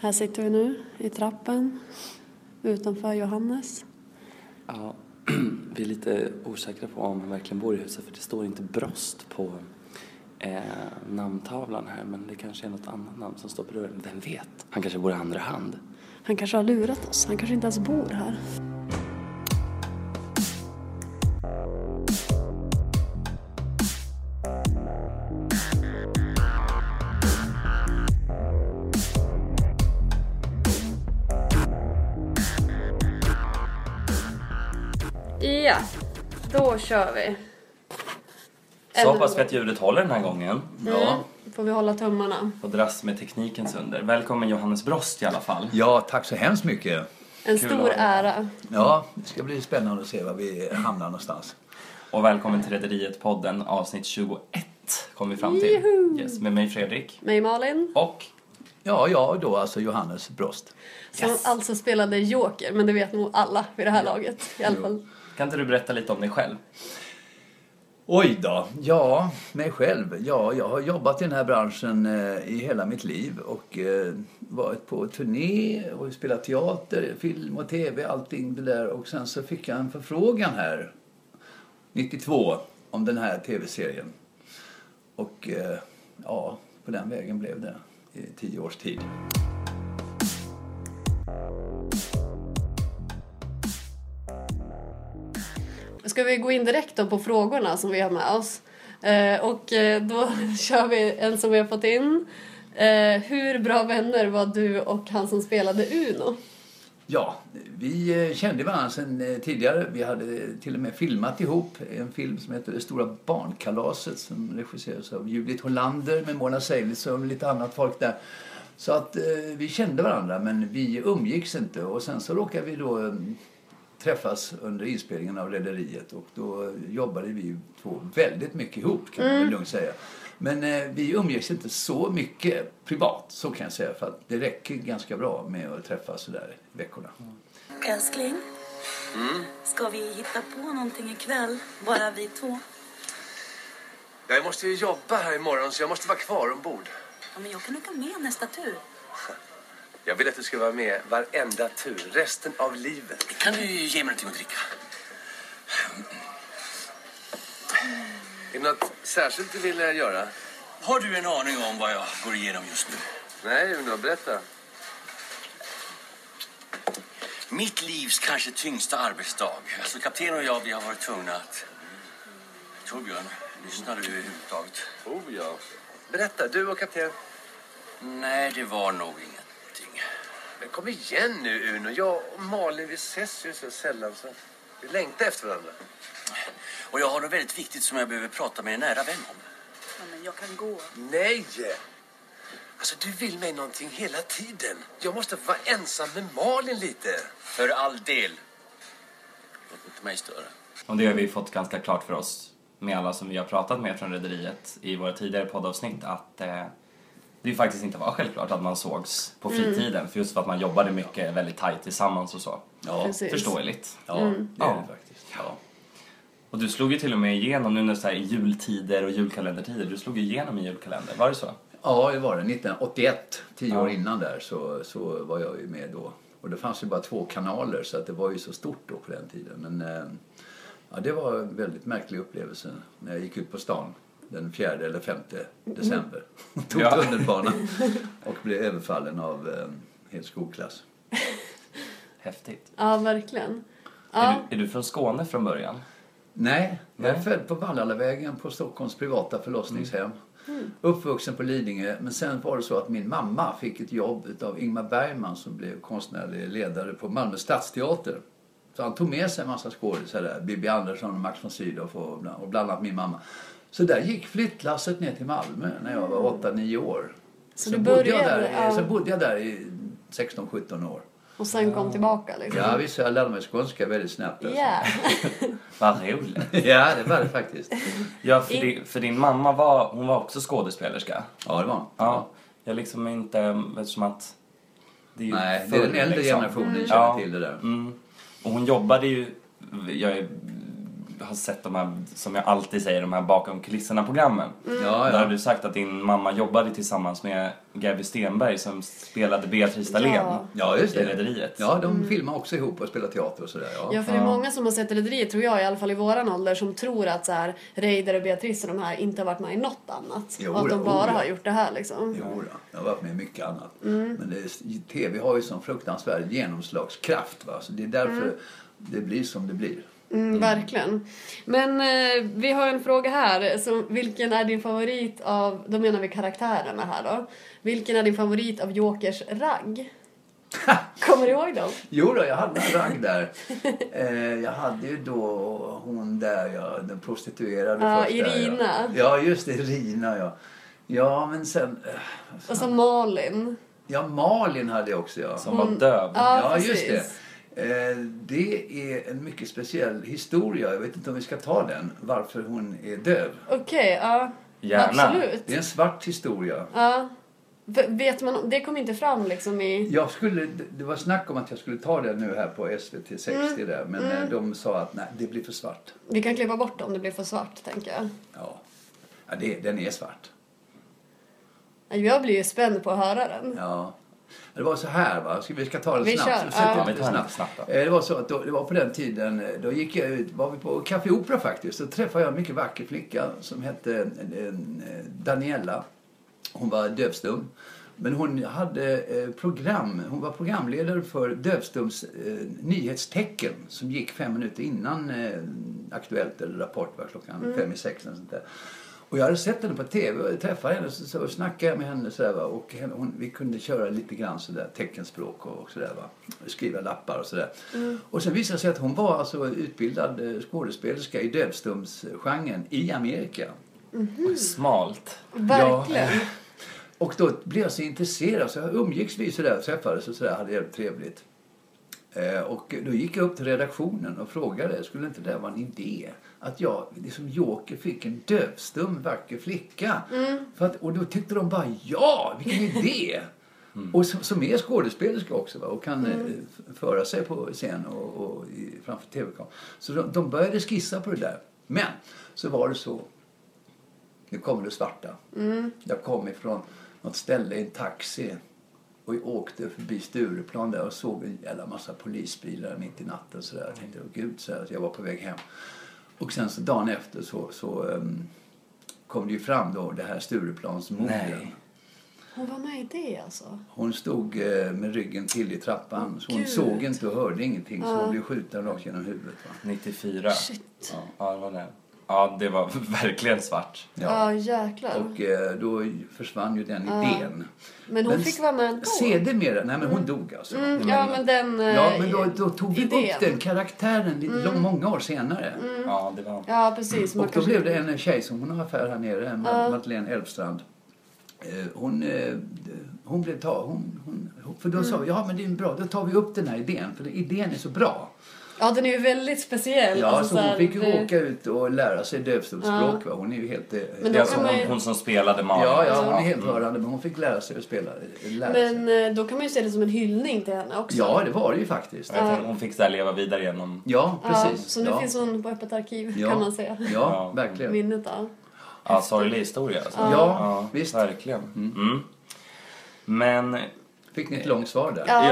Här sitter vi nu i trappen utanför Johannes. Ja, vi är lite osäkra på om han verkligen bor i huset för det står inte Brost på eh, namntavlan här men det kanske är något annat namn som står på dörren. Vem vet? Han kanske bor i andra hand. Han kanske har lurat oss. Han kanske inte ens bor här. Ja, då kör vi. Så hoppas vi att ljudet håller den här gången. Mm. Bra. Får vi hålla tummarna. Och dras med teknikens under. Välkommen Johannes Brost i alla fall. Ja, tack så hemskt mycket. En Kul stor att ha dig. ära. Ja, det ska bli spännande att se var vi hamnar någonstans. Och välkommen till Rederiet-podden avsnitt 21 kom vi fram till. Yes, med mig Fredrik. Mig Malin, Och Ja, ja, då alltså Johannes Brost. som Yes. alltså spelade Joker, men det vet nog alla vid det här laget. I alla Jo. fall. kan inte du berätta lite om dig själv? Oj då! Ja, mig själv. Ja, jag har jobbat i den här branschen eh, i hela mitt liv och eh, varit på turné och spelat teater, film och tv, allting det där. Och sen så fick jag en förfrågan här, 92, om den här tv-serien. Och eh, ja, på den vägen blev det i tio års tid. Ska vi gå in direkt då på frågorna som vi har med oss? Eh, och eh, då kör vi en som vi har fått in. Eh, hur bra vänner var du och han som spelade Uno? Ja, vi eh, kände varandra sedan eh, tidigare. Vi hade eh, till och med filmat ihop en film som heter Det stora barnkalaset som regisserades av Judith Hollander med Mona Seilis och lite annat folk där. Så att eh, vi kände varandra men vi umgicks inte och sen så råkade vi då eh, träffas under inspelningen av Rederiet och då jobbade vi två väldigt mycket ihop kan man väl lugnt säga. Men eh, vi umgicks inte så mycket privat, så kan jag säga, för att det räcker ganska bra med att träffas sådär i veckorna. Älskling, ska vi hitta på någonting ikväll? Bara vi två? Jag måste ju jobba här imorgon så jag måste vara kvar ombord. Ja, men jag kan åka med nästa tur. Jag vill att du ska vara med varenda tur, resten av livet. Kan du ge mig någonting att dricka? Är det något särskilt du vill eh, göra? Har du en aning om vad jag går igenom just nu? Nej, men då berätta. Mitt livs kanske tyngsta arbetsdag. Alltså kaptenen och jag, vi har varit tvungna att... Torbjörn, lyssnar du överhuvudtaget? Oh ja. Berätta, du och kapten. Nej, det var nog ingenting. Men kom igen nu Uno, jag och Malin vi ses ju så sällan så vi längtar efter varandra. Och jag har något väldigt viktigt som jag behöver prata med en nära vän om. Ja, men jag kan gå. Nej! Alltså du vill mig någonting hela tiden. Jag måste vara ensam med Malin lite. För all del. Låt inte mig störa. Och det har vi fått ganska klart för oss med alla som vi har pratat med från Rederiet i våra tidigare poddavsnitt att eh, det ju faktiskt inte var självklart att man sågs på fritiden för just för att man jobbade mycket väldigt tajt tillsammans och så. Ja, Precis. Förståeligt. ja det är Ja. det faktiskt. Ja. Och du slog ju till och med igenom nu när så här jultider och julkalendertider, du slog ju igenom i julkalender, var det så? ja, det var det. 1981, tio Ja. år innan där, så, så var jag ju med då. Och det fanns ju bara två kanaler så att det var ju så stort då på den tiden. Men eh, ja, det var en väldigt märklig upplevelse när jag gick ut på stan den fjärde eller femte december. Tog Mm. Ja. tunnelbanan och blev överfallen av eh, en hel skolklass. Häftigt. Ja, verkligen. Ja, Är, du, är du från Skåne från början? Nej, jag Nej. är född på Vallallavägen på Stockholms privata förlossningshem. Mm. Uppvuxen på Lidingö, men sen var det så att min mamma fick ett jobb av Ingmar Bergman som blev konstnärlig ledare på Malmö stadsteater. Så han tog med sig en massa skådisar där, Bibi Andersson och Max von Sydow och bland, och bland annat min mamma. Så där gick flyttlasset ner till Malmö när jag var 8-9 år. Mm. Så du bodde jag började, Mm. där, i- ja. så bodde jag där i 16-17 år. och sen kom tillbaka liksom. Ja, visst, jag lärde mig skånska väldigt snabbt. alltså. Yeah. Vad roligt. ja, det var det faktiskt. Ja, för, din, för din mamma var, hon var också skådespelerska. Ja, det var det. Ja, jag liksom inte, eftersom att... Det är ju Nej, det är den Mm. förr, äldre liksom. generationen som Ja. känner till det där. Mm. Och hon jobbade ju, jag är har sett de här, som jag alltid säger, de här bakom kulisserna-programmen. Mm. Ja, Där ja. har du sagt att din mamma jobbade tillsammans med Gaby Stenberg som spelade Beatrice Dahlén Ja. Ja, just i det. Rederiet. Mm. Ja, de filmar också ihop och spelar teater och sådär. Ja. Ja, för det är många som har sett Rederiet, tror jag, i alla fall i våran ålder, som tror att så här, Reider och Beatrice och de här inte har varit med i något annat. Jo, och att de ja, bara oh, ja. har gjort det här liksom. Jo, då. jag har varit med i mycket annat. Mm. Men det, tv har ju sån fruktansvärd genomslagskraft. Va? Så det är därför det blir som det blir. Mm, verkligen. Men eh, vi har en fråga här. Som, vilken är din favorit av, då menar vi karaktärerna här då. Vilken är din favorit av Jokers ragg? Kommer du ihåg dem? Jo då, jag hade en ragg där. eh, jag hade ju då hon där, ja, den prostituerade Ja, först där, Irina. Ja. ja, just det, Irina ja. Ja, men sen... eh, Och så Alltså, Malin. Ja, Malin hade jag också ja. Som var döv. Ja, Ja, precis. just det. Eh, Det är en mycket speciell historia. Jag vet inte om vi ska ta den, varför hon är döv. Okej, ja. Gärna. Absolut. Det är en svart historia. Ja. V- Vet man, om- det kom inte fram liksom i... Jag skulle, det var snack om att jag skulle ta den nu här på SVT 60 Mm. där, men eh, de sa att nej, det blir för svart. Vi kan klippa bort om det blir för svart, tänker jag. Ja, ja det, den är svart. Alltså, Jag blir ju spänd på att höra den. Ja. Det var så här va, ska, vi ska ta det Vi snabbt. kör, Så sätter ja. vi Vi tar den snabbt. snabbt då. Eh, Det var så att då, det var på den tiden, eh, då gick jag ut, var vi på Café Opera faktiskt. Då träffade jag en mycket vacker flicka som hette eh, eh, Daniela. Hon var dövstum. Men hon hade eh, program, hon var programledare för Dövstums eh, nyhetstecken som gick fem minuter innan eh, Aktuellt eller Rapport var klockan Mm. fem i sex eller sånt där. Och jag hade sett henne på TV och jag träffade henne och så, så snackade jag med henne så där, va? och henne, hon, vi kunde köra lite grann så där, teckenspråk och, och sådär va. Skriva lappar och sådär. Och sen visade det sig att hon var alltså utbildad eh, skådespelerska i dövstumsgenren i Amerika. Oj, Smalt. Verkligen. Ja. Och då blev jag så intresserad så jag umgicks vi sådär, träffades och sådär, hade jävligt trevligt. Eh, och då gick jag upp till redaktionen och frågade, skulle inte det vara en idé? Att jag, liksom Joker, fick en dövstum vacker flicka. För att, och då tyckte de bara, ja, vilken idé! Och som, som är skådespelerska också va? och kan eh, f- föra sig på scen och, och i, framför tv-kameran. Så de, de började skissa på det där. Men så var det så nu kommer det svarta. Mm. Jag kom ifrån något ställe i en taxi och jag åkte förbi Stureplan där och såg en jävla massa polisbilar mitt i natten. Så där. Jag tänkte, åh gud, så här, så jag var på väg hem. Och sen så dagen efter så, så ehm, kom det ju fram då det här Stureplansmorden. Nej. Hon var med i det alltså. Hon stod eh, med ryggen till i trappan. Så hon Gud. såg inte och hörde ingenting. Så hon blev skjuten rakt genom huvudet. Va? 94. Shit. Ja, ja, det var det. Ja, det var verkligen svart. Ja, jäklar. Och eh, då försvann ju den idén. Men hon fick vara med ändå. Sedermera, nej men hon dog alltså. Mm, ja, men den... eh, Ja, men då, då tog vi idén. Mm. upp den karaktären lite, lång, många år senare. Ja, det var... Ja, precis. Man Och då kanske... blev det en tjej som hon har affär här nere, Ma- Madeleine Elfstrand. Eh, Hon, eh, hon blev ta, hon, hon, för då Mm. sa vi, ja men det är bra, då tar vi upp den här idén, för den- idén är så bra. Ja, den är ju väldigt speciell. Ja, Alltså, så hon här, fick ju det- åka ut och lära sig dövstumsspråk. va. Hon är ju helt... eh, Men Det då är alltså kan man ju... hon, hon som spelade Malin. Ja, ja, hon är helt hörande, men hon fick lära sig att spela. eh, Lära sig. Men eh, då kan man ju se det som en hyllning till henne också. Ja, det var det ju faktiskt. Jag vet, hon- hon fick så här leva vidare genom... Ja, Ja, precis. Så nu ja. finns hon på Öppet arkiv, ja. kan man säga. Ja, verkligen. Minnet av. Ja, sorglig historia. Alltså. Ja, visst. Verkligen. Mm. Men, Fick ni ett långt svar där? Ja.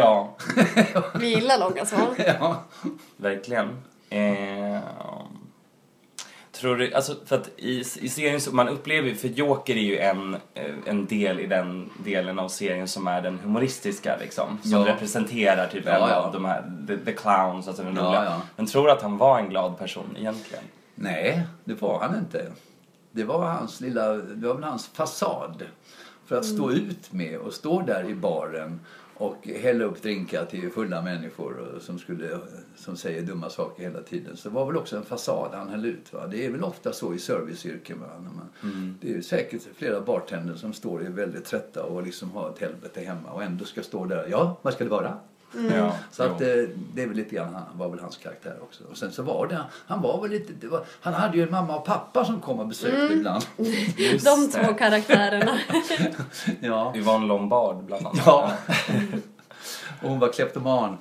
ja, Vi gillar alltså. långa svar. Ja. Verkligen. Eh, tror du, alltså för att i, i serien så, man upplever ju- för Joker är ju en, eh, en del i den delen av serien som är den humoristiska liksom. Som Ja. representerar typ Ja, en ja. av de här, the, the clowns, alltså den Ja, roliga. ja. Men tror du att han var en glad person egentligen? Nej, det var han inte. Det var hans lilla, det var väl hans fasad. För att stå ut med och stå där i baren och hälla upp drinkar till fulla människor och- som, skulle, som säger dumma saker hela tiden. Så det var väl också en fasad han höll ut. Va? Det är väl ofta så i serviceyrken. Va? När man, Det är ju säkert flera bartender som står och är väldigt trötta och liksom har ett helvete hemma och ändå ska stå där. Ja, vad ska det vara? Ja, Så att, jo. eh, det är väl lite grann, han- var väl hans karaktär också. Och sen så var det, han var väl lite, det var, han hade ju en mamma och pappa som kom och besökte Mm. ibland. Just De det. två karaktärerna. ja. Yvonne Lombard bland annat. Ja. Och hon var kleptoman.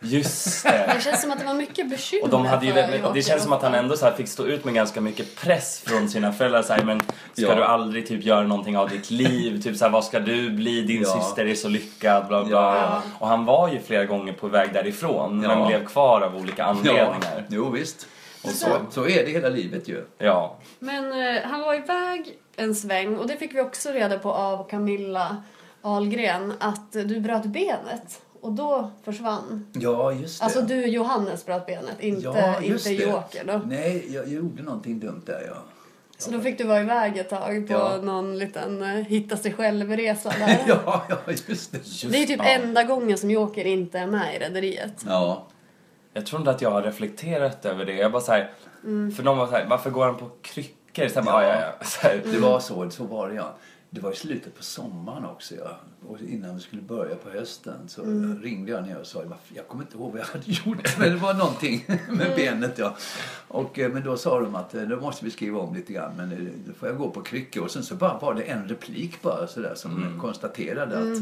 Just Det det. känns som att det var mycket bekymmer Och de hade ju för väldigt, Joakim det känns som att han Rothman. ändå så här fick stå ut med ganska mycket press från sina föräldrar. Så här, men ska Ja. du aldrig typ göra någonting av ditt liv? Typ så här, vad ska du bli? Din Ja. syster är så lyckad. Bla, bla. Ja. Och han var ju flera gånger på väg därifrån Ja. men blev kvar av olika anledningar. Ja. jo visst. Och så, så är det hela livet ju. Men eh, han var iväg en sväng och det fick vi också reda på av Camilla Ahlgren att eh, du bröt benet och då försvann. Ja, just det. Alltså du Johannes bröt benet, inte, ja, just inte det. Joker då. Nej, jag, jag gjorde någonting dumt där ja. Så då fick du vara iväg ett tag på Ja. någon liten eh, hitta sig själv-resa där. Ja, ja, just det. Just, Det är typ ja. enda gången som Joker inte är med i Rederiet. Ja, Jag tror inte att jag har reflekterat över det. Jag bara så här, Mm. För någon var så här, varför går han på kryckor? Så här, bara, Ja. ja. Ja, ja. Så här, det var så. Så var det ja. Det var i slutet på sommaren också. Ja. Och innan vi skulle börja på hösten så ringde jag när jag sa, "Vad f- jag kommer inte ihåg vad jag hade gjort. Men det var någonting med benet ja. Och, eh, men då sa de att eh, då måste vi skriva om lite grann. Men eh, då får jag gå på kryckor. Och sen så bara var det en replik bara sådär som konstaterade att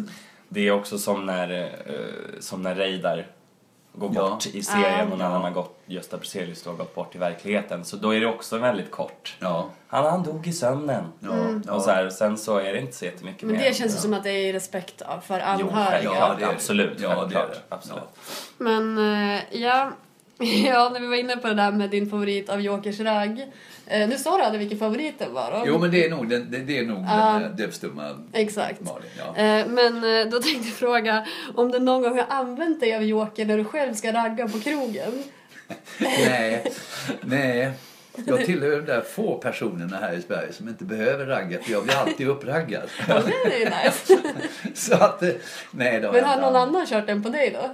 Det är också som när, eh, som när Reidar går Ja. bort i Ah, serien och när han har gått, Gösta Brzelius då har gått bort i verkligheten. Så då är det också väldigt kort. ja, Han, han dog i sömnen. ja, ja. Och så här, sen så är det inte så jättemycket Mm. Men mer. det känns ju som att det är i respekt av- för Jo, anhöriga. självklart. Ja, det är det. absolut. Ja, det är självklart. det. Absolut. Men eh, ja, ja, när vi var inne på det där med din favorit av Jokers ragg. Eh, nu sa du aldrig vilken favoriten var då. Jo men det är nog den, det, det är nog den eh, dövstumma Exakt. Malin. Ja. Eh, Men eh, då tänkte jag fråga om du någon gång har använt dig av Joker när du själv ska ragga på krogen. Nej, nej. Jag tillhör de där få personerna här i Sverige som inte behöver ragga för jag blir alltid uppraggad. Ja, det är ju nice. Så att, eh, nej då. Men har någon annan kört den på dig då?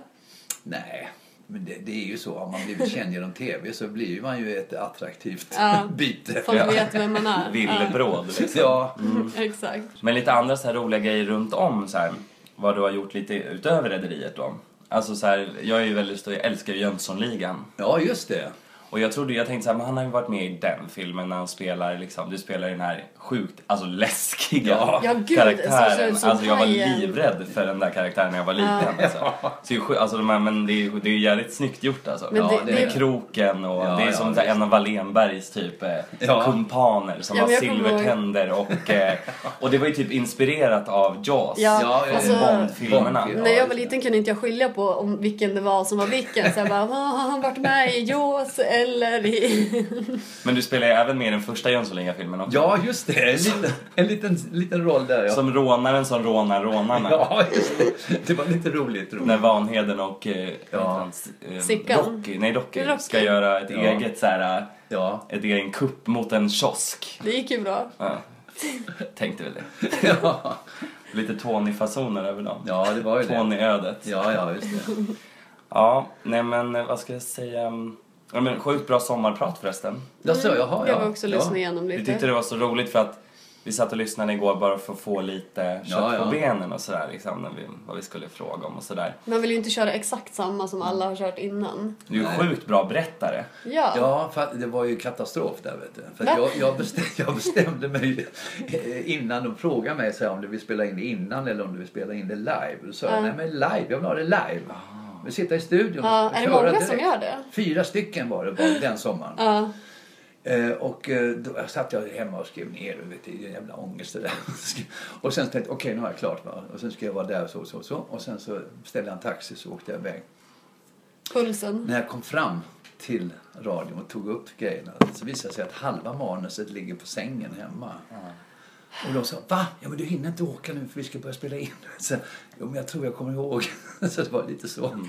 Nej, men det, det är ju så. Har man blivit känd genom tv så blir man ju ett attraktivt Ja. byte. Folk vet vem man är. Villebråd liksom. Ja, Ja, Exakt. Men lite andra så här roliga grejer runt om så här, vad du har gjort lite utöver Rederiet då. Alltså så här, jag är ju väldigt stor, jag älskar ju Jönssonligan. ja just det. Och jag trodde, jag tänkte så här, men han har ju varit med i den filmen när han spelar liksom, du spelar den här sjukt, alltså läskiga Ja. Ja, gud, så ser karaktären. ut som alltså jag var hajen. livrädd för den där karaktären när jag var liten. Alltså. Så det är sju- alltså de här, men det är ju det är ju jävligt snyggt gjort alltså. Men det- ja, det- Med kroken och Ja, det är ja, som så här, en av Wallenbergs typ eh, Ja. kumpaner som Ja, har men jag kommer ihåg. silvertänder och, eh, och det var ju typ inspirerat av Jaws. eh, Ja, Ja, ja, alltså, ja. Bondfilmerna. Bondfilm. När jag var liten kunde inte jag skilja på om vilken det var som var vilken. Så jag bara, "Ah, har han varit med i Jaws eller i... Men du spelar ju även med i den första Jönssonliga-filmen också. Ja, just det. En liten, en liten, liten roll där. Ja. Som rånaren som rånar rånarna. Ja, just det. Det var lite roligt. När roligt. Vanheden och eh, Ja. hans, eh, Sickan. Rocky, nej Rocky, Rocky. ska göra ett Ja. eget så här, eh, Ja, ett egen kupp mot en kiosk. Det gick ju bra. Ja. Tänkte väl det. ja. Lite Tony-fasoner över dem. ja det var ju det. Tony-ödet. Ja. Ja, ja, just det. nej men eh, vad ska jag säga? Ja, men, sjukt bra sommarprat förresten. Jag sa, jaha, ja. Jag var också ja. lyssna igenom Vi lite. tyckte det var så roligt för att vi satt och lyssnade igår bara för att få lite kött Ja, ja. på benen och sådär liksom, när vi, vad vi skulle fråga om och sådär. Man vill ju inte köra exakt samma som alla har kört innan. Du är ju Nej. sjukt bra berättare. Ja. Ja, för det var ju katastrof där vet du. För att jag, jag, bestämde, jag bestämde mig eh, innan de frågade mig så här, om du vill spela in det innan eller om du vill spela in det live. Då sa jag, nej men live, jag vill ha det live. Vi sitter i studion Ja, och är det köra många direkt. som gör det? Fyra stycken var det bara den sommaren. Ja. Eh, och eh, då satt jag hemma och skrev ner och vet, du, en jävla ångest det där. och sen tänkte jag, okej nu har jag klart va. Och sen ska jag vara där så så så. Och sen så beställde jag en taxi så åkte jag iväg. Pulsen. När jag kom fram till radion och tog upp grejerna så visade det sig att halva manuset ligger på sängen hemma. Och de sa, va? Ja men du hinner inte åka nu för vi ska börja spela in. Så, jo men jag tror jag kommer ihåg. Så det var lite så. Mm.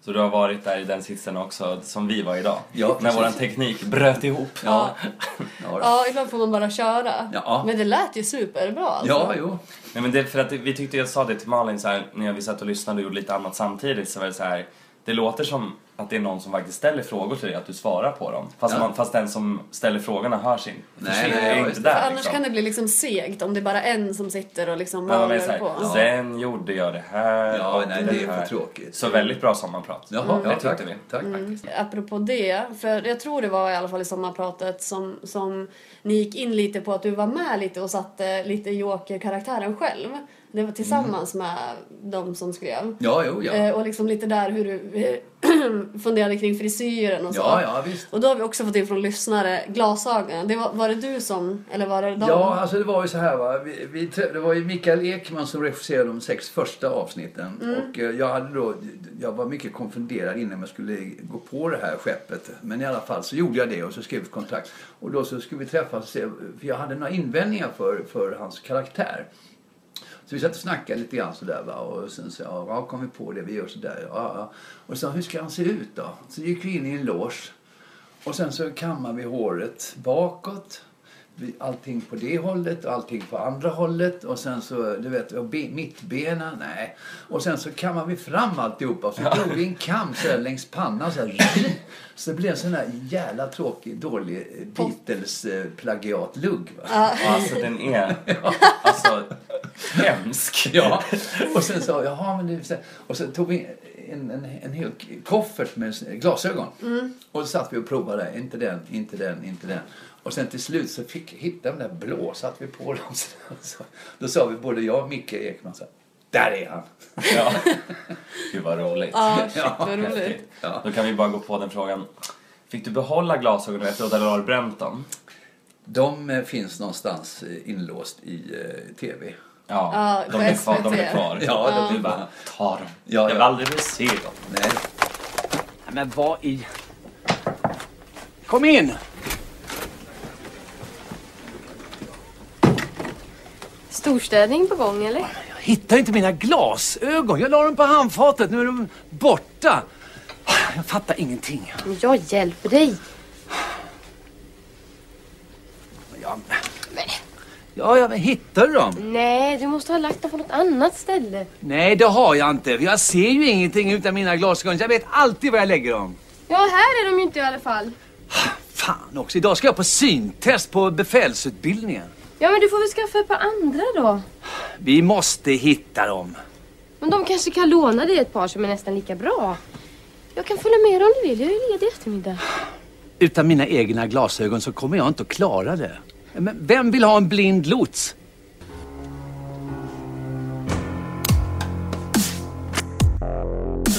Så du har varit där i den sitsen också, som vi var idag. Ja, när precis. vår teknik bröt ihop. Ja. Ja, då. Ja, ibland får man bara köra. Ja. Men det lät ju superbra alltså. ja jo. Nej, men det, för att det, vi tyckte, jag sa det till Malin så här, när vi satt och lyssnade och gjorde lite annat samtidigt så var det så här, det låter som att det är någon som faktiskt ställer frågor till dig, att du svarar på dem. Fast, Ja. man, fast den som ställer frågorna hörs inte. Nej, Försvinner, nej, är ja, inte just det. där För annars liksom. kan det bli liksom segt om det är bara en som sitter och liksom Men man är maler så här, på. Sen gjorde jag det här Ja, nej, det är här." för tråkigt. Så väldigt bra sommarprat. Jaha, Mm. Det ja, tyckte tack. vi. tack. Apropå det, för jag tror det var i alla fall i sommarpratet som, som ni gick in lite på att du var med lite och satte lite Joker-karaktären själv. Det Mm. var tillsammans med de som skrev. Ja, jo, ja. Eh, och liksom lite där hur du eh, funderade kring frisyren och så. Ja, ja, visst. Och då har vi också fått in från lyssnare glasögonen. Det var, var det du som, eller var det de? Ja, alltså det var ju så här va. Vi, vi, trä- det var ju Mikael Ekman som regisserade de sex första avsnitten. Och eh, jag, hade då, jag var mycket konfunderad innan jag skulle gå på det här skeppet. Men i alla fall så gjorde jag det och så skrev vi ett kontrakt. Och då så skulle vi träffas och se, för jag hade några invändningar för, för hans karaktär. Så vi satt och snackade lite grann sådär va. Och sen så, ja, ja kom vi på det, vi gör sådär. Ja, ja. Och så, hur ska han se ut då? Så gick vi in i en loge. Och sen så kammar vi håret bakåt. Vi- Allting på det hållet och allting på andra hållet. Och sen så, du vet, och be, mittbena, nej. Och sen så kammar vi fram alltihopa. Och så tog vi en kam så här längs pannan så här. Så det blev en sån här jävla tråkig, dålig Beatles-plagiat-lugg. Va? Alltså den är alltså hemsk. Ja, och sen sa jag, jaha men det är så här." Och så tog vi en, en, en hel koffert med glasögon. Och så satt vi och provade, inte den, inte den, inte den. Och sen till slut så fick, hittade vi den där blå, satt vi på dem. Så, så, då sa vi både jag och Micke Ekman så här, där är han. Ja. Gud vad roligt. Ja, Ah, shit vad roligt. Häftigt. Då kan vi bara gå på den frågan. Fick du behålla glasögonen efteråt eller har du bränt dem? De eh, finns någonstans eh, inlåst i eh, tv. Ja, Ja, på de är kvar. De SVT. är kvar. Ja, de Du är bara, ta dem. Ja, jag ja. vill aldrig mer se dem. Nej. Men vad i... Kom in! Storstädning på gång eller? Jag hittar inte mina glasögon. Jag la dem på handfatet. Nu är de borta. Jag fattar ingenting. Men jag hjälper dig. Jag... Ja, ja, men hittar du dem? Nej, du måste ha lagt dem på något annat ställe. Nej, det har jag inte. Jag ser ju ingenting utan mina glasögon. så Jag vet alltid var jag lägger dem. Ja, här är de ju inte i alla fall. Fan också, idag ska jag på syntest på befälsutbildningen. Ja, men du får väl skaffa ett par andra då. Vi måste hitta dem. Men de kanske kan låna dig ett par som är nästan lika bra. Jag kan följa med om du vill. Jag är ledig i eftermiddag. Utan mina egna glasögon så kommer jag inte att klara det. Men vem vill ha en blind lots?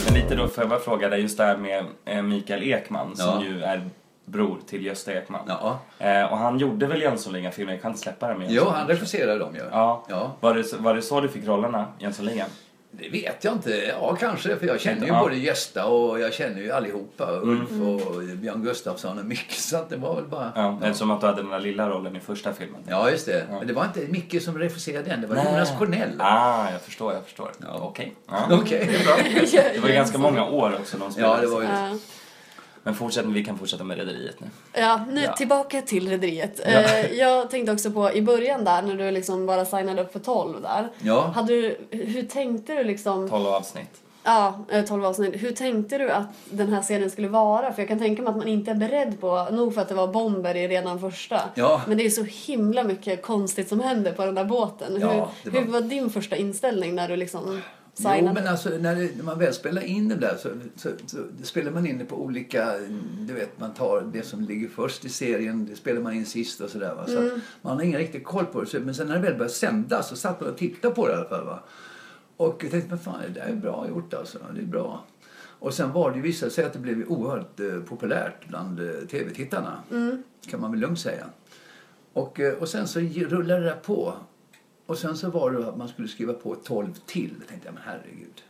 Men lite då, får jag bara fråga dig, just det här med eh, Mikael Ekman som Ja. ju är bror till Gösta Ekman. Ja. Eh, och han gjorde väl Jönssonligan-filmer, jag kan inte släppa den med Jo, han regisserar dem ju. Ja. ja. Var, det, så- var det så du fick rollerna, Jönssonligan? Det vet jag inte. Ja, kanske. För jag känner ju Ja. Mm. både Gösta och jag känner ju allihopa. Ulf och Björn Gustafsson och Micke. Så att det var väl bara... Ja, Eftersom att du hade den där lilla rollen i första filmen. Ja, just det. Men det var inte Micke som regisserade den. Det var Jonas Cornell. Ah, jag förstår, jag förstår. Okej. Ja. Okej. Det var ju ganska många år också de spelade. Ja, det var ju... Ja. Men fortsätt, vi kan fortsätta med Rederiet nu. Ja, nu tillbaka till Rederiet. Eh, Jag tänkte också på i början där när du liksom bara signade upp för 12 där. Ja. Hade du, hur tänkte du liksom, 12 avsnitt. ja, eh, 12 avsnitt, hur tänkte du att den här serien skulle vara? För jag kan tänka mig att man inte är beredd på, nog för att det var bomber i redan första. Ja. Men det är så himla mycket konstigt som händer på den där båten. Ja, hur, det var- hur var din första inställning när du liksom signade? Jo, men alltså när, det, när man väl spelar in det där så, så, så spelar man in det på olika... Du vet, man tar det som ligger först i serien, det spelar man in sist och sådär. Va? Så att Man har ingen riktig koll på det. Så, men sen när det väl började sändas så satt man och tittade på det i alla fall. Va? Och jag tänkte, men fan det där är bra gjort alltså. Det är bra. Och sen var det ju visade sig att det blev ju oerhört eh, populärt bland eh, tv-tittarna. Kan man väl lugnt säga. Och, eh, och sen så ge- rullade det där på. Och sen så var det att man skulle skriva på 12 till. Då tänkte jag, men herregud.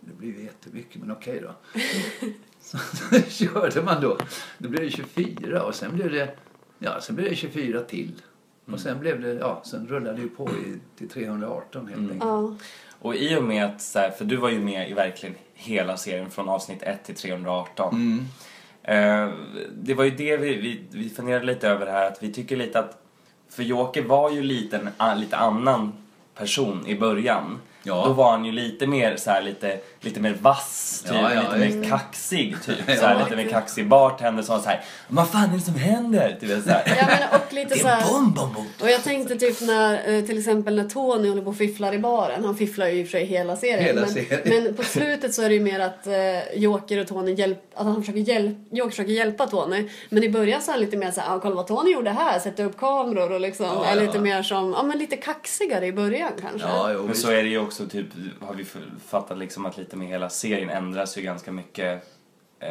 Det blir ju jättemycket, men okej då. så, så körde man då. Då blev det 24 och sen blev det, ja, sen blev det 24 till. Och sen blev det, ja, sen rullade det ju på i, till 318 helt enkelt. Ja. Och i och med att, så här, för du var ju med i verkligen hela serien från avsnitt 1 till 318. Mm. Eh, det var ju det vi, vi, vi funderade lite över här, att vi tycker lite att, för Joker var ju lite en a- lite annan person i början. Ja. Då var han ju lite mer så här, lite, lite mer vass, typ, Ja, ja, lite just mer kaxig typ. Så här, lite mer kaxig bartender som var så här, vad fan är det som händer? Typ så här. Ja, men och lite så här... Bom, bom, Och jag tänkte typ när, eh, till exempel när Tony håller på och fifflar i baren. Han fifflar ju i och för sig hela serien. Hela men, serien. men på slutet så är det ju mer att eh, Joker och Tony hjälp, att han försöker, hjälp, Joker försöker hjälpa Tony. Men i början så är han lite mer såhär, ah, kolla vad Tony gjorde här, sätta upp kameror och liksom. Ja, är ja. lite mer som, ja men lite kaxigare i början kanske. Ja, jo, Men visst. så är det ju också typ, har vi fattat liksom att lite med hela serien ändras ju ganska mycket. Eh,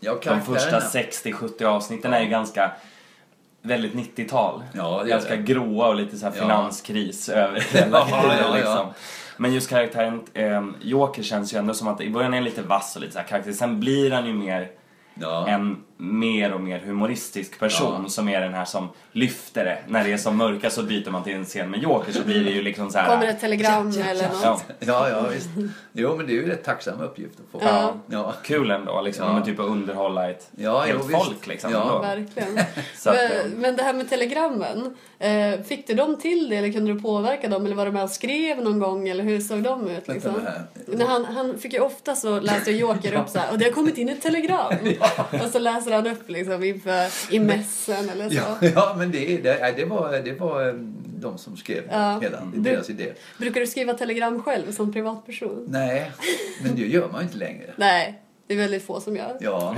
Ja, de första karaktärerna. 60-70 avsnitten är ju ganska väldigt 90-tal. Ja, det är ganska det. gråa och lite så här Ja. finanskris över hela Ja, grejen, ja, ja. liksom. Men just karaktären eh, Joker känns ju ändå som att i början är han lite vass och lite så här karaktär. Sen blir han ju mer Ja. en mer och mer humoristisk person Ja. som är den här som lyfter det. När det är som mörka så byter man till en scen med Joker så blir det ju liksom så här. Kommer ett telegram eller något. Ja. Ja, ja, visst. Jo, men det är ju en rätt tacksam uppgift att få. Ja. Ja, Kul ändå, liksom, Ja. men typ att underhålla ett Ja, helt jo, visst. folk. Liksom, Ja. ändå. Verkligen. Så att, Men- eh, men det här med telegrammen, eh, fick du dem till det eller kunde du påverka dem eller var du med och skrev någon gång eller hur såg de ut? Liksom? Vänta, det När han, han fick ju ofta så läste Joker upp så här, och det har kommit in ett telegram. Och så läser han upp liksom inför, i mässen eller så. ja, ja men det, är- det, nej, det, var, det var eh, de som skrev Ja. hela deras idé. Brukar du skriva telegram själv som privatperson? Nej, men det gör man ju inte längre. Nej, det är väldigt få som gör. Ja,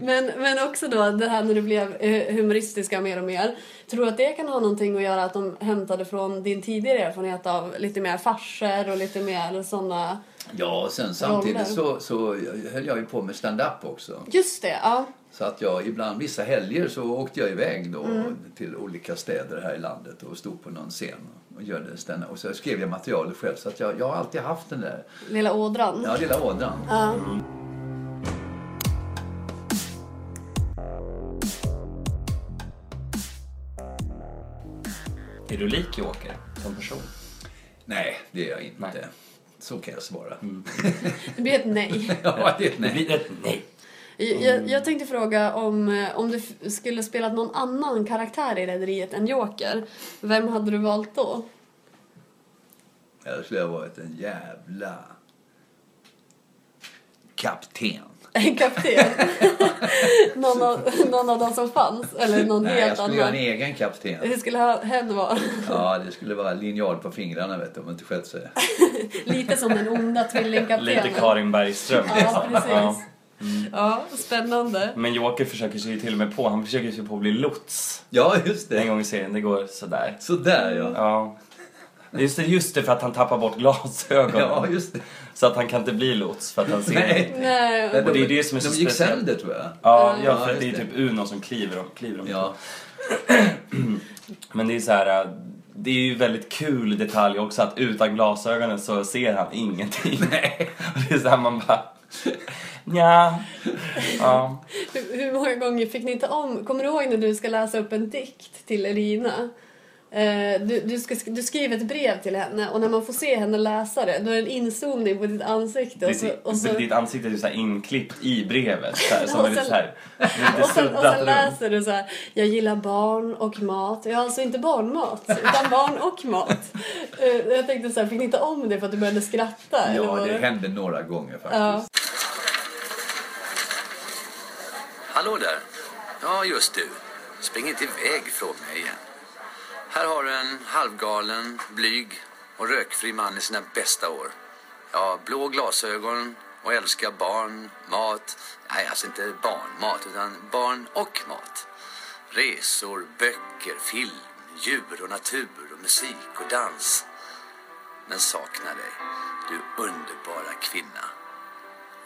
Men, men också då det här när det blev eh, humoristiska mer och mer. Tror du att det kan ha någonting att göra att de hämtade från din tidigare erfarenhet av lite mer farser och lite mer sådana... ja och sen samtidigt så, så höll jag ju på med stand-up också. Just det, ja. Så att jag ibland, vissa helger så åkte jag iväg då Mm. till olika städer här i landet och stod på någon scen och gjorde stand Och så skrev jag materialet själv så att jag, jag har alltid haft den där, Lilla ådran. ja lilla ådran. Ja. Är du lik Joker som person? Nej, det är jag inte. Nej. Så kan jag svara. Det blir ett nej. Ja, det är ett Det nej. blir ett nej. Jag- Jag, jag tänkte fråga om, eh, om du f- skulle spelat någon annan karaktär i Rederiet än Joker. Vem hade du valt då? Eller skulle jag ha varit en jävla kapten. En kapten? någon, av, någon av de som fanns? Eller någon Nej, jag helt skulle göra en annan? egen kapten. Hur skulle ha- hen vara? Ja, det skulle vara linjal på fingrarna vet du, om man inte sköt sig. Lite som den onda tvillingkaptenen. Lite Karin Bergström. Ja, liksom. Ja. precis. Mm. Ja, spännande. Men Joker försöker sig ju till och med på, han försöker sig på att bli lots Ja, just en det. gång i serien, det går sådär. Sådär ja. Ja. Just det, just det, för att han tappar bort glasögonen. Ja, just det. Så att han kan inte bli lots för att han ser... Nej. Nej, Och det är det som är de så gick speciellt. sönder tror jag. Ja, Mm. ja, för Ja, att just det är det. typ Uno som kliver om, kliver om Ja, Men det är så här. äh, Det är ju väldigt kul detalj också att utan glasögonen så ser han ingenting. Och det är så här man bara... Nja. Ja. hur, hur många gånger fick ni inte om... Kommer du ihåg när du ska läsa upp en dikt till Elina? Eh, Du, du, ska, sk- du skriver ett brev till henne och när man får se henne läsa det då är det en inzoomning på ditt ansikte. Och så, Ditt, och så, ditt ansikte är ju så här inklippt i brevet. Så här, som Och är lite sen- så här, lite och sen, och suddat sen runt. läser du så här, jag gillar barn och mat. Jag alltså inte barnmat, utan barn och mat. Eh, Jag tänkte så här, fick ni inte om det för att du började skratta? eller ja vad det var hände några gånger faktiskt. Ja. Hallå där. Ja, just du. Spring inte iväg från mig igen. Här har du en halvgalen, blyg och rökfri man i sina bästa år. Ja, blå glasögon och älskar barn, mat. Nej, alltså inte barnmat, utan barn och mat. Resor, böcker, film, djur och natur och musik och dans. Men saknar dig, du underbara kvinna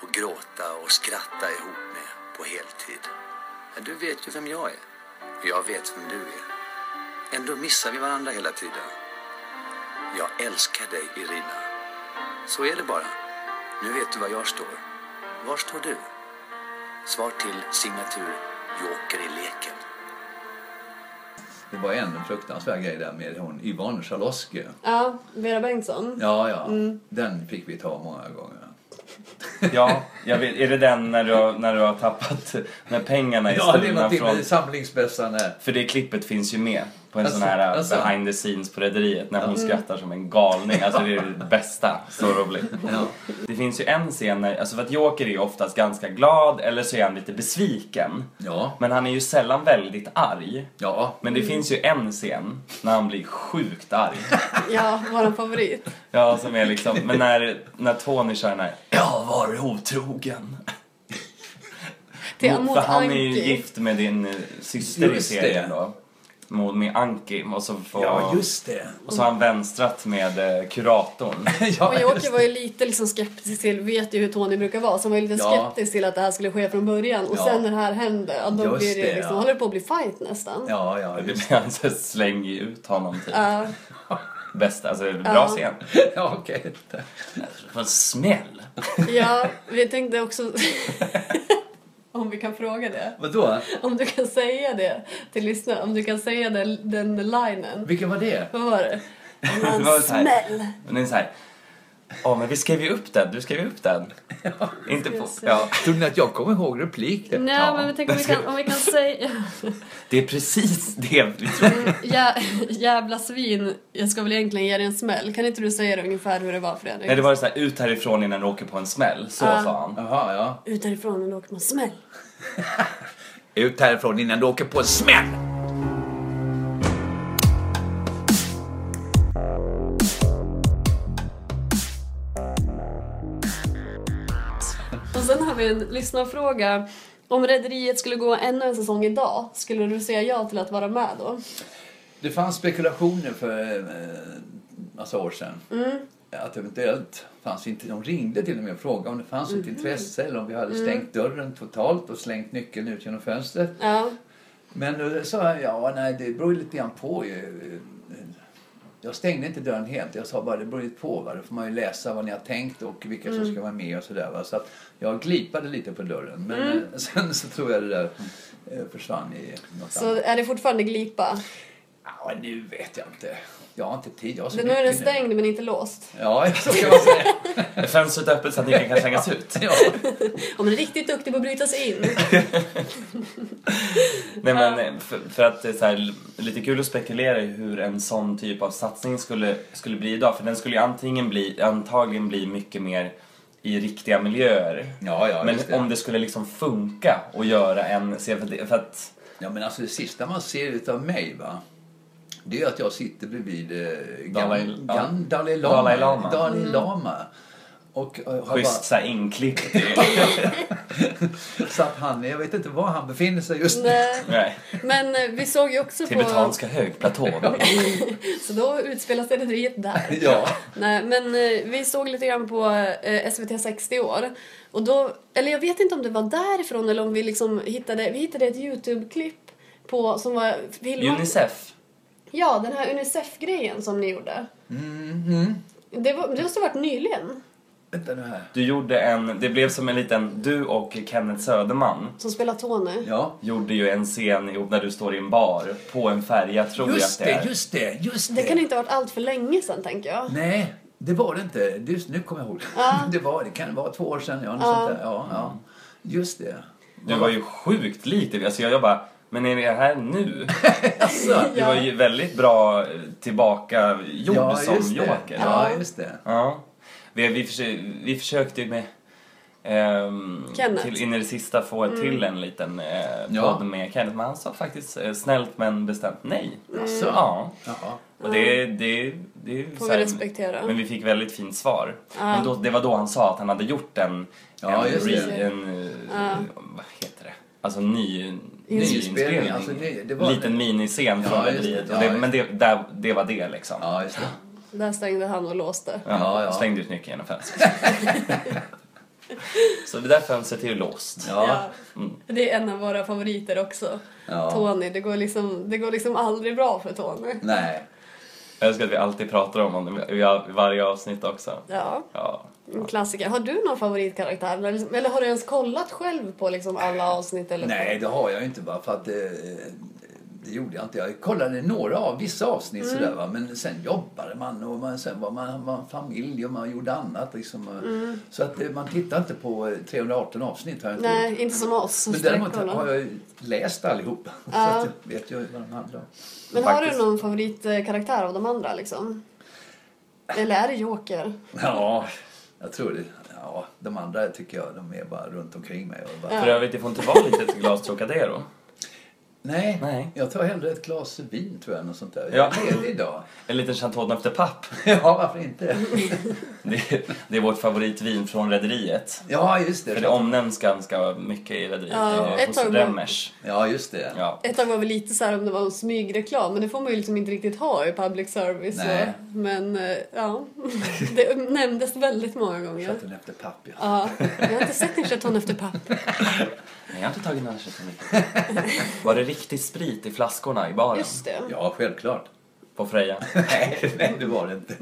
och gråta och skratta ihop med på heltid. Men du vet ju vem jag är. Och jag vet vem du är. Ändå missar vi varandra hela tiden. Jag älskar dig, Irina. Så är det bara. Nu vet du var jag står. Var står du? Svar till signatur Joker i leken. Det var en fruktansvärd grej där med hon Yvonne Schalosky. Ja, Vera Bengtsson. Ja, ja. Den fick vi ta många gånger. Ja, jag vet, är det den när du, har- när du har tappat när pengarna är Ja, det är stulna någonting från... med samlingsbössan här. För det klippet finns ju med. På en Alltså, sån här eh, alltså. behind the scenes på Rederiet när hon skrattar som en galning. Alltså det är det bästa. Så roligt. Det finns ju en scen när, alltså för att Joker är ju oftast ganska glad eller så är han lite besviken. Ja. Men han är ju sällan väldigt arg. Ja. Men det finns ju en scen när han blir sjukt arg. Ja, vår favorit. Ja, som är liksom, men när, när Tony kör den här Jag har varit otrogen. Till, Mot- mot För han är ju Anki. gift med din eh, syster Just i det. serien då. Mot med Anki och så får... Ja, just det. Och så har han vänstrat med eh, kuratorn. Och Ja, Joker var ju lite liksom skeptisk till, vet ju hur Tony brukar vara, så han var ju lite Ja. skeptisk till att det här skulle ske från början. Och Ja. sen när det här hände, ja, då Just blir det, det, liksom, ja. håller det på att bli fight nästan. ja, ja, just, Han så slänger ju ut honom typ. Ja. Bästa, alltså bra Ja. scen. ja okej. Vad smäll! Ja, vi tänkte också... om vi kan fråga det. Vadå? Om du kan säga det till lyssnarna. Om du kan säga den, den linen. Vilken var det? Vad var det? Det var så här- Men det är så här. Ja men vi skrev ju upp den, du skrev ju upp den. Inte på, se. ja. Tror ni att jag kommer ihåg repliken? Nej, Ja. men vi tänker om vi kan, om vi kan säga... Det är precis det vi tror. Jä, jävla svin, jag ska väl egentligen ge dig en smäll. Kan inte du säga det ungefär hur det var Fredrik? Nej det var så här, ut härifrån innan du åker på en smäll. Så Ja. sa han. Jaha, ja. Ut därifrån och då åker man smäll. Ut härifrån innan du åker på en smäll! Och sen har vi en lyssnarfråga. Om Rederiet skulle gå ännu en säsong idag, skulle du säga ja till att vara med då? Det fanns spekulationer för eh, massa år sedan. Mm. Att eventuellt fanns inte, de ringde till och med och frågade om det fanns Mhm. ett intresse eller om vi Mm. hade stängt dörren totalt och slängt nyckeln ut genom fönstret. Ja. Men då sa jag, ja nej det beror ju lite grann på ju. Jag stängde inte dörren helt. Jag sa bara det beror ju på. Va? Då får man ju läsa vad ni har tänkt och vilka Mm. som ska vara med och sådär. va. Så att jag glipade lite på dörren. Men Mm. eh, sen så tror jag det där eh, försvann i något Så annat. är det fortfarande glipa? Ja, nu vet jag inte. Jag har inte tid. Jag har så Den nu mycket är den stängd men inte låst. Ja, så kan man säga. Fönstret är öppet så att nyckeln kan slängas ut. Ja. Om den är riktigt duktig på att bryta sig in. Nej men eh, för, för att det är så här, l- lite kul att spekulera i hur en sån typ av satsning skulle, skulle bli idag. För den skulle ju antingen bli, antagligen bli mycket mer i riktiga miljöer. Ja, ja, men just det. om det skulle liksom funka och göra en serie för, det- för att ja, men alltså det sista man ser utav mig va. Det är att jag sitter bredvid eh, Gan- Dalai- Gan- ja. Dalai Lama. Dalai Lama. Dalai Lama. Och, eh, har schysst såhär inklippt i... bara, så att han, jag vet inte var han befinner sig just nu. Nej. Nej, Men eh, vi såg ju också på... tibetanska högplatån. Så då utspelar sig Rederiet där. Ja. Nej, men eh, vi såg lite grann på eh, SVT 60 år. Och då, eller jag vet inte om det var därifrån eller om vi liksom hittade, vi hittade ett YouTube-klipp på, som var filmat. Unicef. Ja, den här Unicef-grejen som ni gjorde. Mm-hmm. Det, var, det måste ha varit nyligen Vänta nu här. Du gjorde en, det blev som en liten, du och Kenneth Söderman som spelar Tony. Ja. gjorde ju en scen ihop när du står i en bar på en färja tror Just jag att det är. det, just det, just Det det. kan inte ha varit allt för länge sedan tänker jag. Nej, det var det inte. Just nu kommer jag ihåg. Det, var, det kan vara två år sedan. Ja, något sånt där. Ja, ja. Just det. Du var ju sjukt lik det. Alltså jag, jag bara, men är det här nu? Alltså, Du var ju väldigt bra eh, tillbaka gjord ja, som just det. Joker. Ja, just det. Ja. Vi, vi, försö- vi försökte ju med ehm, Kenneth. till in i det sista få till en liten eh, podd Ja. med Kenneth men han sa faktiskt eh, snällt men bestämt nej. Alltså. Ja. Jaha. Och det, det, det är Får så här- vi respektera. Men vi fick väldigt fint svar. Men då, det var då han sa att han hade gjort en... Ja, en, just det. en eh, Vad heter det? Alltså ny... Nyinspelning, Nyinspelning. alltså det- det var- Liten miniscen från Ja, just det. Rederiet. Ja, Och det- just Men det, där, det var det liksom. Ja, just det. Där stängde han och låste. Ja, ja. Slängde ut nyckeln genom fönstret. så det där fönstret är ju låst. Ja. Mm. Det är en av våra favoriter också. Ja. Tony, det går, liksom, det går liksom aldrig bra för Tony. Nej. Jag älskar att vi alltid pratar om honom i i varje avsnitt också. Ja, Ja. en klassiker. Har du någon favoritkaraktär? Eller, liksom- eller har du ens kollat själv på liksom alla avsnitt? Eller Nej, På? det har jag ju inte bara för att eh, det gjorde jag inte. Jag kollade några av vissa avsnitt Mm. sådär va. Men sen jobbade man och man, sen var man, man familj och man gjorde annat liksom. Mm. Så att eh, man tittar inte på eh, 318 avsnitt har jag inte gjort. Nej, inte som oss. som Men däremot har streckkollar. jag ju läst allihopa. Så Ja. att jag vet ju vad de handlar om. Men har du faktiskt. någon favoritkaraktär av de andra liksom? Eller är det Joker? Ja, jag tror det. Ja, de andra tycker jag, de är bara runt omkring mig. Och bara, Ja. För övrigt, det får inte vara lite ett glas Trocadero. nej, Nej. jag tar hellre ett glas vin tror jag, något sånt där. Ja. Jag är ledig idag. En liten Chantoden efter papp. Ja, varför inte? Det är, det är vårt favoritvin från Rederiet. Ja, just det. För det omnämns ganska mycket i Rederiet. Ja, Ja, ett hos tag- Remmers. Ja, just det. Ja. Ett tag var vi lite så här om det var en smygreklam, men det får man ju liksom inte riktigt ha i public service. Nej. Så. Men eh, ja, det nämndes väldigt många gånger. Satt hon efter papp, ja. Ja, jag har inte sett en chaton efter papp. Nej, jag har inte tagit någon Chantoden. Var det riktig sprit i flaskorna i baren? Just det. Ja, självklart. På Freja? Nej, nej, det var det inte.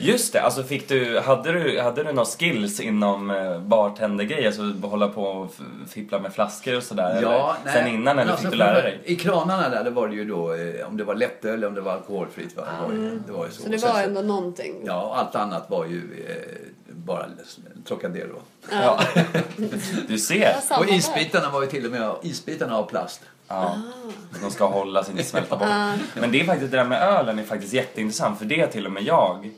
Just det, alltså fick du, hade du, hade du några skills inom eh, bartendergrej? Alltså hålla på och f- fippla med flaskor och sådär? Ja, eller? Sen innan eller Men fick du för- lära dig? I kranarna där, det var det ju då eh, om det var lättöl eller om det var alkoholfritt. Va? Det, var Mm. ju, det var ju så. Så det Sen var ändå någonting. Ja, och allt annat var ju eh, bara Trocadero. Ja. Du ser! Jag sa- Och Samma där. isbitarna var ju till och med isbitarna av plast. Ja. Ah. De ska hålla sig inte smälta bort. Men det är faktiskt det där med ölen är faktiskt jätteintressant för det är till och med jag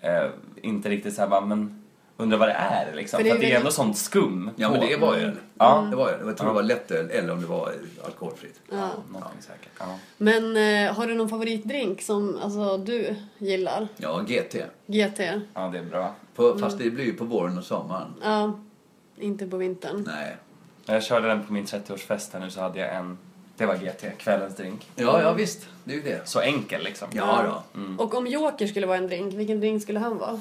eh, inte riktigt såhär bara men undrar vad det är liksom. För För det är det är, det är väl- ändå sånt skum. Ja, men på. det var öl. Mm. Ja. Det var öl. Jag tror det var lättöl eller om det var eh, alkoholfritt. Ja, någonting säkert. Ja. Men eh, har du någon favoritdrink som alltså, du gillar? Ja, GT. GT? ja, det är bra. På, fast Mm. det blir ju på våren och sommaren. Ja, inte på vintern. Nej. När jag körde den på min 30-årsfest här nu så hade jag en, det var GT, kvällens drink. Ja, ja visst. Det är ju det. Så enkel liksom. Ja, då. Och om Joker skulle vara en drink, vilken drink skulle han vara?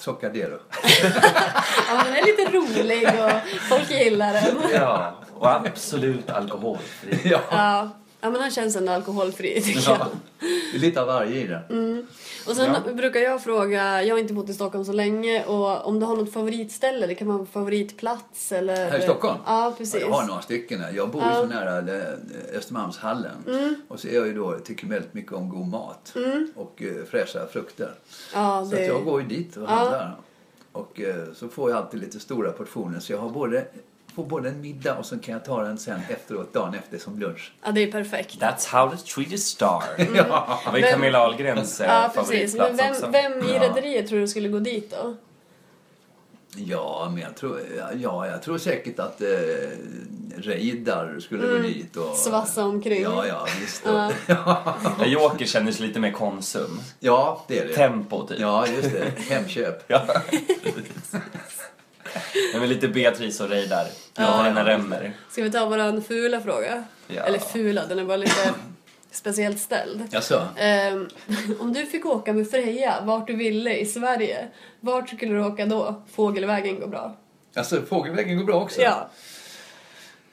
Trocadero. Ja, men den är lite rolig och folk gillar den. Ja, och absolut alkoholfri. ja. Ja, ja men han känns ändå alkoholfri tycker jag. Det är Lite av varje i den. Mm. Och sen brukar jag fråga, jag har inte bott i Stockholm så länge, och om du har något favoritställe, det kan vara en favoritplats eller... Här i Stockholm? Ja, precis. Jag har några stycken här. Jag bor ju så nära eh, Östermalmshallen. Mm. Och så är jag ju då, tycker väldigt mycket om god mat och eh, fräscha frukter. Ja, Så att det... jag går ju dit och handlar. Och eh, så får jag alltid lite stora portioner. Så jag har både, får både en middag och sen kan jag ta den sen efteråt, dagen efter som lunch. ja, det är perfekt. That's how the Swedish star. Mm. Det var ju Camilla Ahlgrens eh, Ja, precis. Men favoritplats vem, också. vem i Ja. Rederiet tror du skulle gå dit då? Ja, men jag tror, ja, jag tror säkert att eh, Reidar skulle Mm. gå dit och... Svassa omkring. Ja, ja, visst. ja. Där Joker känner sig lite mer Konsum. ja, det är det. Tempo typ. Ja, just det. Hemköp. Ja. Nej, men lite Beatrice och Reidar. Ja, den Remmer. Ska vi ta våran fula fråga? Ja. Eller fula, den är bara lite speciellt ställd. Jaså? Ehm, om du fick åka med Freja vart du ville i Sverige, vart skulle du åka då? Fågelvägen går bra. Alltså, fågelvägen går bra också? Ja.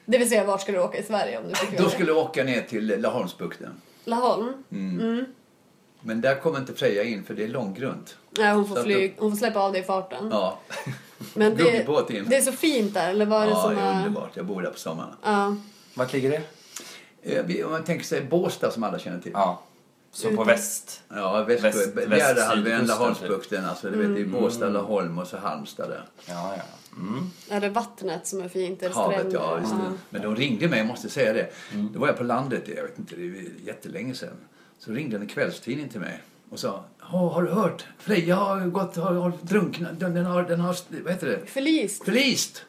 Det vill säga, vart skulle du åka i Sverige om du fick Då välja? skulle Mm. jag åka ner till Laholmsbukten. Laholm? Men där kommer inte Freja in för det är långgrunt. Nej, hon får, Så att flyg, hon får släppa av dig i farten. Ja, Men det, gummibåt in. det är så fint där, eller vad är det ja som eh, det är är... underbart. Jag bor där på sommaren. Ja, Vart ligger det? Eh, vi- Om man tänker sig Båstad som alla känner till. Ja. Så på väst. Ja, Väst- Västkö- väst- Bjärehalvön, sydkusten, Laholmsbukten. Alltså, du vet, det är Båstad, Laholm och så Halmstad där. Ja, ja. Mm. är det vattnet som är fint? Är det Havet, stränder? ja. Just det. Ja. Men de ringde mig, jag måste säga det. Då var jag på landet, jag vet inte, det är jättelänge sedan. Så ringde en kvällstidning till mig och sa, "Ja, har du hört? Freja har gått, har, har drunknat, den, den har, den har, vad heter det? Förlist? Förlist!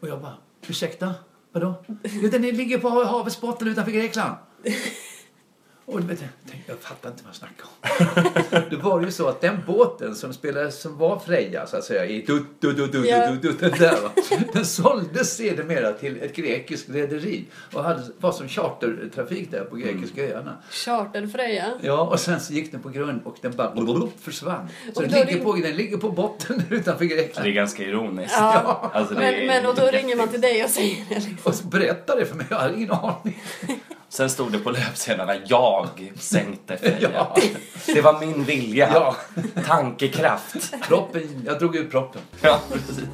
Och jag bara, ursäkta? Vadå? Jo, den ligger på havets botten utanför Grekland. Och du vet, jag, tänkte, jag fattar inte vad jag snackar om. Det var ju så att den båten som spelade, som var Freja så att säga, i du, du, du, du, Ja. du, du, du, den där va. Den såldes sedermera till ett grekiskt rederi och hade, var som chartertrafik där på grekiska Mm. öarna. Charterfreja? Ja, och sen så gick den på grund och den bara försvann. Så Och den då ligger, ring- på, den ligger på botten utanför Så Det är Grekland. ganska ironiskt. Ja. Alltså, det Men, är men och då jätte- ringer man till dig och säger det. liksom. Och så berättade det för mig, jag hade ingen aning. Sen stod det på löpsedlarna, jag sänkte Freja. Ja. Det var min vilja. Ja. Tankekraft. Proppen, jag drog ut proppen. Ja, precis.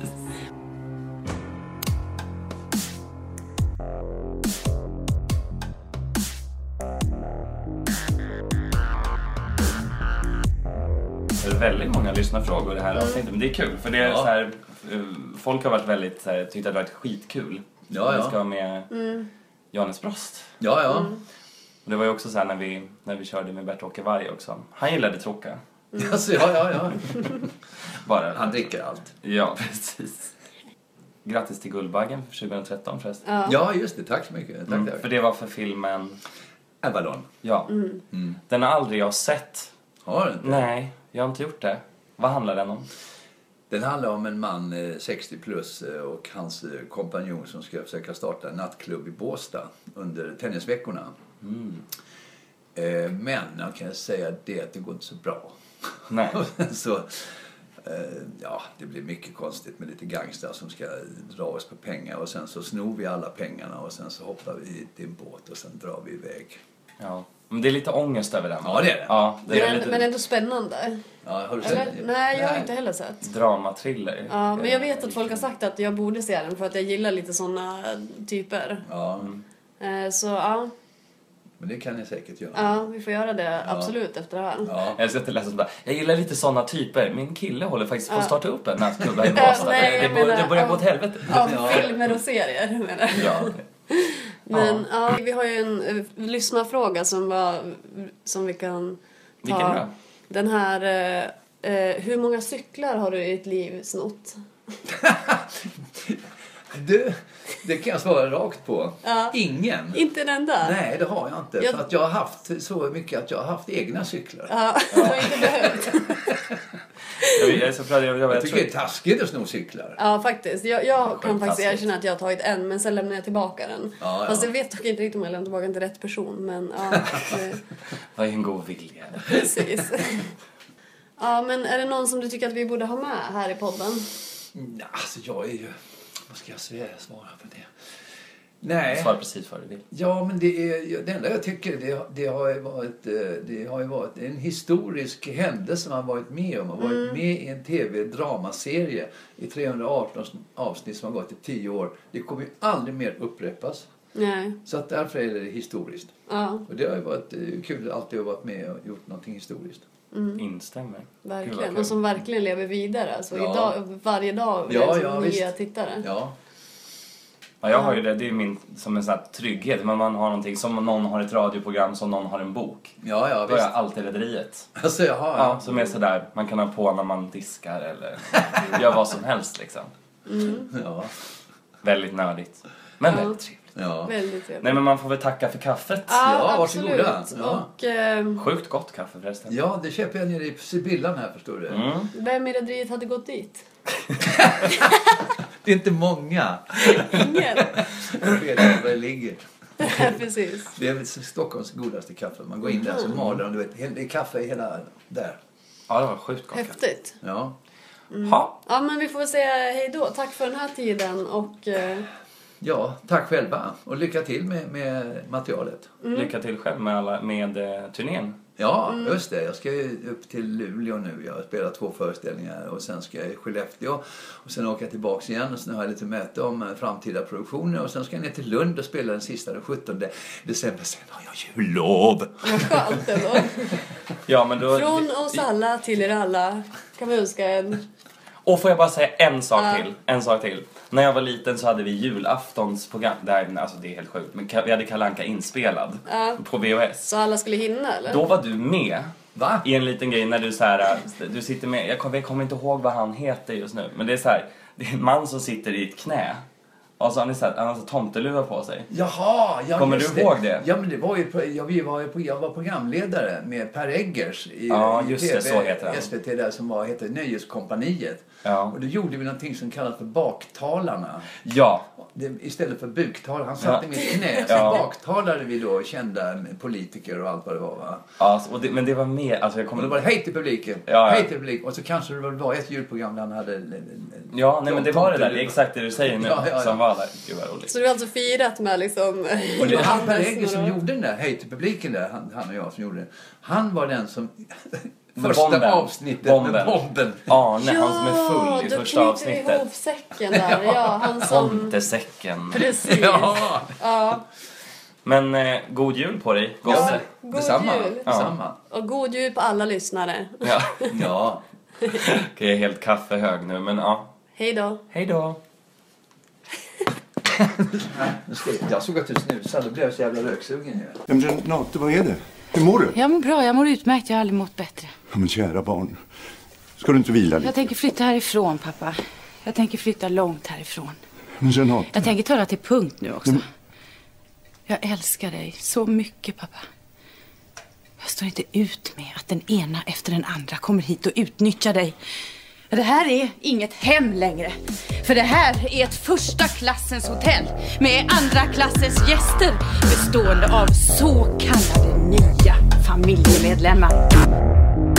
väldigt många lyssnarfrågor i det här avsnittet. Men det är kul för det är Mm. Ja. så här, eh, folk har varit väldigt, så här, tyckt att det varit skitkul. Ja, Mm. Att Vi ja. ska ha med Johannes Brost. Ja, ja. Och det var ju också så här när vi, när vi körde med Bert-Åke Varg också. Han gillade tråka. Alltså, ja, ja, ja. Bara. Han dricker allt. Ja, precis. Grattis till Guldbaggen för 2013 förresten. Ja. Ja, just det. Tack så mycket. Tack, Mm, tack. för det var för filmen, Avalon. ja. Mm. Mm. Den har aldrig jag sett. Har du inte? Nej, jag har inte gjort det. Vad handlar den om? Den handlar om en man, eh, 60 plus, eh, och hans eh, kompanjon som ska försöka starta en nattklubb i Båstad under tennisveckorna. Eh, Men jag kan säga det att det går inte så bra. Nej. Och sen så, eh, ja, det blir mycket konstigt med lite gangstrar som ska dra oss på pengar och sen så snor vi alla pengarna och sen så hoppar vi i en båt och sen drar vi iväg. Ja. Men det är lite ångest över den. Ja, det är det. Ja, det är Men, lite men ändå spännande. Ja, har du sett Eller? den? Nej, jag har inte heller sett. dramatriller. Ja, men jag Eh, vet att folk har sagt att jag borde se den för att jag gillar lite såna typer. Ja, Eh, Så ja, men det kan ni säkert göra. ja vi får göra det absolut efter det här. Ja. Jag ska inte läsa sådär. Jag gillar lite sådana typer. Min kille håller faktiskt på att starta upp en nattklubb här i Ja, Båstad. nej, Det, jag bör- menar, det börjar ja. gå åt helvete. Av filmer och serier menar jag. Ja. Men ja, vi har ju en eh, lyssnarfråga som, var, som vi kan ta. Vilken då? Den här, eh, eh, hur många cyklar har du i ditt liv snott? Du, det kan jag svara rakt på. Ja. Ingen. Inte en enda. Nej, det har jag inte. Jag- För att jag har haft så mycket att jag har haft egna cyklar. Ja, du har inte behövt. Jag, jag är så glad. Jag, jag, jag, jag tycker tror- det är taskigt att sno cyklar. Ja, faktiskt. Jag, jag kan faktiskt taskigt. erkänna att jag har tagit en, men sen lämnar jag tillbaka den. Ja, ja. Fast jag vet dock inte riktigt om jag lämnar tillbaka den till rätt person, men ja, det, Vad är en god vilja? precis. Ja, men är det någon som du tycker att vi borde ha med här i podden? Nej, Alltså, jag är ju... Vad ska jag säga? Svara på det. Nej. Svara precis vad du vill. Ja, men det, är, det enda jag tycker det, det, har ju varit, eh, det har ju varit en historisk händelse man varit med om. Man har varit med i en tv-dramaserie i 318 avsnitt som har gått i 10 år. Det kommer ju aldrig mer upprepas. Nej. Så att därför är det historiskt. Ja, Och det har ju varit eh, kul alltid att ha varit med och gjort någonting historiskt. Instämmer. Gud, vad Mm. verkligen. kul. Och som verkligen lever vidare. Alltså, Ja. idag, varje dag Ja, liksom, nya ja, visst. tittare. Ja, Ja, jag har ju det. Det är min som en sån här trygghet. Men man har någonting som någon har ett radioprogram, som någon har en bok. ja, ja Då har jag visst. alltid Rederiet. Alltså, jaha, Ja, ja. som är sådär, man kan ha på när man diskar eller gör vad som helst liksom. Ja, Väldigt nördigt. Men väldigt trevligt. ja. Väldigt trevligt. Nej men man får väl tacka för kaffet. Ja, absolut. varsågoda. Ja. Och eh, Sjukt gott kaffe förresten. ja, det köper jag nere i Sibyllan här förstår du. vem i rederiet hade gått dit? Det är inte många. Ingen. Jag vet inte var det ligger. Precis. Det är väl Stockholms godaste kaffe. Man går in där så maler de, du vet, det är kaffe i hela där. Ja, det var sjukt gott kaffe. Häftigt. Ja. Mm. Ha. Ja, men vi får väl säga hej då. Tack för den här tiden och eh, ja, tack själva och lycka till med, med materialet. Lycka till själv med, alla, med eh, turnén. Ja, just det. Jag ska ju upp till Luleå nu. Jag spelar två föreställningar och sen ska jag i Skellefteå. Och sen åka tillbaks igen och sen har jag lite möte om eh, framtida produktioner. Och sen ska jag ner till Lund och spela den sista den 17 december. Sen har jag jullov! vad skönt ändå. Ja, men då... Från oss alla till er alla kan vi önska en... Och får jag bara säga en sak Ja. till? En sak till. När jag var liten så hade vi julaftonsprogram. Det, här, alltså, det är helt sjukt. Men Ka- vi hade Kalle Anka inspelad Ja. på VHS. Så alla skulle hinna eller? Då var du med Va? i en liten grej när du så här, äh, du sitter med, jag kommer, jag kommer inte ihåg vad han heter just nu, men det är så här, det är en man som sitter i ett knä och så har han så här, han har så tomteluva på sig. Jaha, ja, Kommer just du ihåg det? Ja, men det var ju, pro- jag, vi var ju, pro- jag var programledare med Per Eggers i, Ja, i just det, så heter han. SVT där som var, heter Nöjeskompaniet. Ja. Och då gjorde vi någonting som kallas för baktalarna. Ja, Det, istället för buktal. Han satt Ja. i mitt knä. Så Ja. baktalade vi då kända politiker och allt vad det var. Va? alltså, och det, men det var med, alltså jag Och kommer då var det hej till publiken, Ja, ja. hej till publiken. Och så kanske det var ett julprogram där han hade... Ja, nej men det var det där, det är tomteluva. exakt det du säger nu Ja, ja, ja. som var där. Gud vad roligt. Så du har alltså firat med liksom... Och det var han Per Anders Egger som några år. gjorde den där Hej till publiken där, han, han och jag som gjorde den. Han var den som... Med Första bomben. avsnittet med Bomben. bomben. Arne, Ja, han som är full i då första knyter vi avsnittet. ihop säcken där. Ja, han som... Tomtesäcken. Precis. Ja, Ja. Men eh, god jul på dig, gosse. God detsamma. jul. detsamma. Och god jul på alla lyssnare. Ja. Ja, Jag är helt kaffehög nu, men ja. Hej då. Hej då. Nu ska jag- Jag såg att du snusade, då blev jag så jävla röksugen ju. Ja, men Renate, vad är det? Hur mår du? Jag mår bra, jag mår utmärkt. Jag har aldrig mått bättre. Ja, men kära barn, ska du inte vila Jag lite? tänker flytta härifrån, pappa. Jag tänker flytta långt härifrån. Men Renate, Jag tänker ta det till punkt nu också. Jag älskar dig så mycket, pappa. Jag står inte ut med att den ena efter den andra kommer hit och utnyttjar dig. Det här är inget hem längre. För det här är ett första klassens hotell med andra klassens gäster bestående av så kallade nya familjemedlemmar.